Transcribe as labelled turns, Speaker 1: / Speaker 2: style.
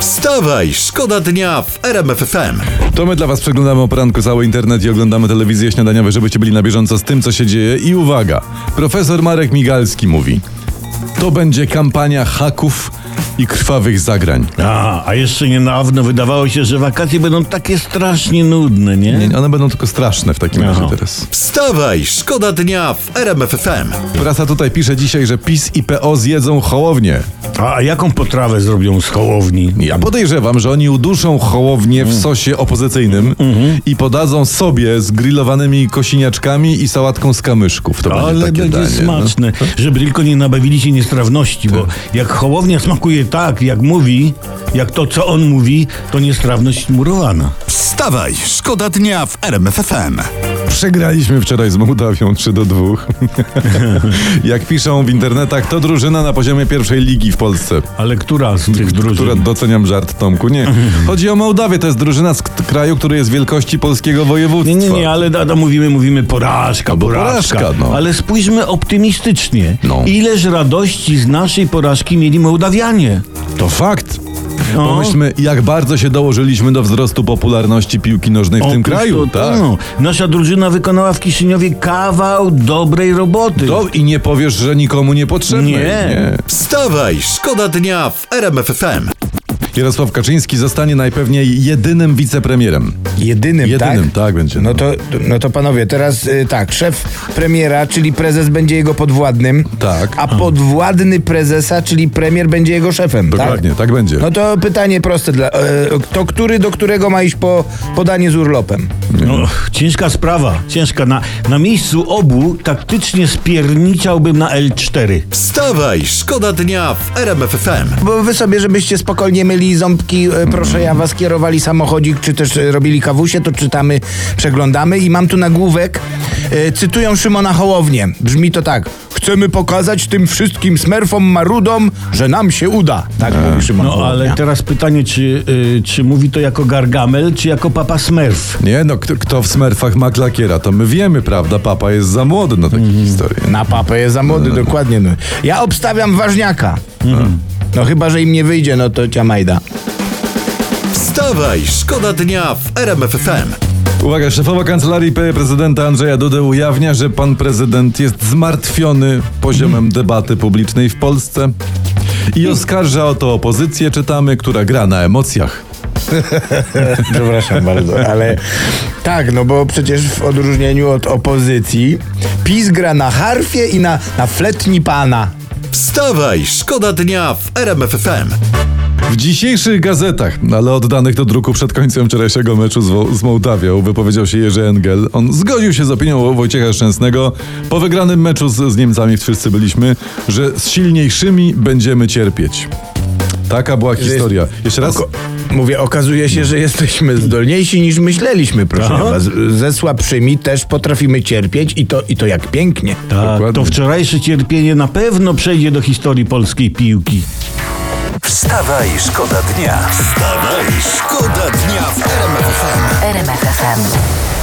Speaker 1: Wstawaj, szkoda dnia w RMF FM.
Speaker 2: To my dla was przeglądamy o poranku cały internet i oglądamy telewizję śniadaniowe, żebyście byli na bieżąco z tym, co się dzieje. I uwaga, profesor Marek Migalski mówi, to będzie kampania haków i krwawych zagrań.
Speaker 3: A, a jeszcze niedawno wydawało się, że wakacje będą takie strasznie nudne, nie?
Speaker 2: Nie, One będą tylko straszne w takim razie
Speaker 3: Aha.
Speaker 2: teraz.
Speaker 1: Wstawaj, szkoda dnia w RMF FM.
Speaker 2: Prasa tutaj pisze dzisiaj, że PiS i PO zjedzą hołownię.
Speaker 3: A, a jaką potrawę zrobią z hołowni?
Speaker 2: Ja podejrzewam, że oni uduszą hołownię w sosie opozycyjnym
Speaker 3: Mhm.
Speaker 2: i podadzą sobie z grillowanymi kosiniaczkami i sałatką z kamyszków. To
Speaker 3: Ale
Speaker 2: będzie takie
Speaker 3: będzie
Speaker 2: danie. no.
Speaker 3: smaczne, żeby tylko nie nabawili się niestrawności, bo
Speaker 2: Tak.
Speaker 3: jak hołownia smakuje tak, jak mówi, jak to, co on mówi, to niestrawność murowana.
Speaker 1: Wstawaj, szkoda dnia w RMF FM.
Speaker 2: Przegraliśmy wczoraj z Mołdawią 3 do 2. Jak piszą w internetach, to drużyna na poziomie pierwszej ligi w Polsce.
Speaker 3: Ale która z tych drużyn?
Speaker 2: Która doceniam żart Tomku, nie. Chodzi o Mołdawię, to jest drużyna z k- kraju, który jest wielkości polskiego województwa.
Speaker 3: Nie, nie, nie, ale da, da, mówimy, mówimy porażka,
Speaker 2: bo
Speaker 3: porażka.
Speaker 2: porażka, no.
Speaker 3: Ale spójrzmy optymistycznie.
Speaker 2: No.
Speaker 3: Ileż radości z naszej porażki mieli Mołdawianie.
Speaker 2: To fakt.
Speaker 3: No.
Speaker 2: Pomyślmy, jak bardzo się dołożyliśmy do wzrostu popularności piłki nożnej w tym
Speaker 3: Otóż
Speaker 2: kraju.
Speaker 3: to
Speaker 2: tak.
Speaker 3: to. Nasza drużyna wykonała w Kiszyniowie kawał dobrej roboty.
Speaker 2: To i nie powiesz, że nikomu nie potrzebne.
Speaker 3: Nie.
Speaker 1: Wstawaj, szkoda dnia w RMF FM.
Speaker 2: Jarosław Kaczyński zostanie najpewniej jedynym wicepremierem.
Speaker 4: Jedynym,
Speaker 2: Jedynym,
Speaker 4: tak?
Speaker 2: tak będzie.
Speaker 4: No to, no to panowie, teraz y, tak, szef premiera, czyli prezes będzie jego podwładnym,
Speaker 2: Tak.
Speaker 4: a podwładny prezesa, czyli premier będzie jego szefem,
Speaker 2: Dokładnie, tak,
Speaker 4: tak?
Speaker 2: będzie.
Speaker 4: No to pytanie proste dla, y, to który do którego ma iść po podanie z urlopem?
Speaker 3: No, ciężka sprawa, ciężka. Na, na miejscu obu taktycznie spierniczałbym na L4.
Speaker 1: Wstawaj, szkoda dnia w RMF FM.
Speaker 4: Bo wy sobie, żebyście spokojnie myli ząbki, e, proszę ja was, kierowali samochodzik, czy też e, robili kawusie, to czytamy, przeglądamy i mam tu nagłówek, e, cytują Szymona Hołownię, brzmi to tak, chcemy pokazać tym wszystkim smerfom marudom, że nam się uda, tak mówi Szymon
Speaker 3: No ale
Speaker 4: Hołownia.
Speaker 3: teraz pytanie, czy, y, czy mówi to jako Gargamel, czy jako Papa Smurf?
Speaker 2: Nie no, kto, kto w smerfach ma klakiera, to my wiemy, prawda? Papa jest za młody na takie historie.
Speaker 4: Na papę jest za młody, dokładnie. No. Ja obstawiam ważniaka. No chyba, że im nie wyjdzie, no to ciamajda.
Speaker 1: Wstawaj, szkoda dnia w RMF FM.
Speaker 2: Uwaga, szefowa kancelarii P. prezydenta Andrzeja Dudy ujawnia, że pan prezydent jest zmartwiony poziomem debaty publicznej w Polsce i oskarża o to opozycję, czytamy, która gra na emocjach.
Speaker 4: Przepraszam bardzo, ale tak, no bo przecież w odróżnieniu od opozycji PiS gra na harfie i na, na fletni pana.
Speaker 1: Wstawaj, szkoda dnia w RMF FM.
Speaker 2: W dzisiejszych gazetach, ale oddanych do druku przed końcem wczorajszego meczu z, Wo- z Mołdawią, wypowiedział się Jerzy Engel. On zgodził się z opinią Wojciecha Szczęsnego. Po wygranym meczu z, z Niemcami wszyscy byliśmy, że z silniejszymi będziemy cierpieć. Taka była historia. Jeszcze raz?
Speaker 4: Oko- mówię, okazuje się, że jesteśmy zdolniejsi niż myśleliśmy, proszę was. Ze słabszymi też potrafimy cierpieć i to, i to jak pięknie.
Speaker 3: Tak,
Speaker 2: Dokładnie.
Speaker 3: to wczorajsze cierpienie na pewno przejdzie do historii polskiej piłki.
Speaker 1: Wstawaj, szkoda dnia. Wstawaj, szkoda dnia w RMF FM.
Speaker 5: RMFFM.